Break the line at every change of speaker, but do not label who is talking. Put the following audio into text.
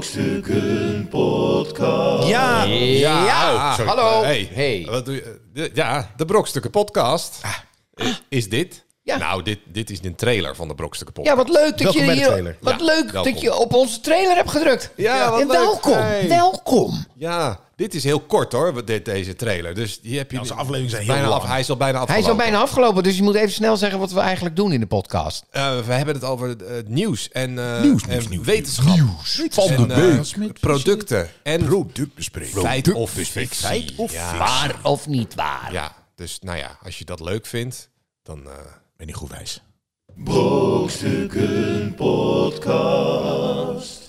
Brokstukken Podcast.
Ja,
Ja.
Oh, sorry.
Hallo.
Eh, hey.
Hey.
Wat doe je? De- Ja, de Brokstukken Podcast.
Ah.
Eh, Is dit?
Ja.
Nou, dit, dit is een trailer van de Brokstukken
Ja,
Podcast.
wat leuk dat
Welkom
je
bij de
hier,
trailer.
wat
Ja,
leuk
welkom.
dat je op onze trailer hebt gedrukt.
Ja, wat
en
leuk.
welkom,
Hey.
welkom.
Ja, dit is heel kort hoor, wat dit, deze trailer. Dus die heb je.
onze afleveringen zijn heel
bijna
lang.
af. Hij is al bijna
Hij
afgelopen.
is al bijna afgelopen, dus je moet even snel zeggen wat we eigenlijk doen in de podcast.
Eh, we hebben het over het eh, nieuws en, eh
Nieuws,
en
nieuws, nieuws,
wetenschap.
nieuws. Van
en,
de
eh,
week.
producten en
Productbespreking.
feit of
Productbespreking.
fictie.
Feit of
Ja.
fictie.
Waar of niet waar?
Ja, dus nou ja, als je dat leuk vindt, dan. eh,
Ben je niet goed wijs?
Brokstukken Podcast.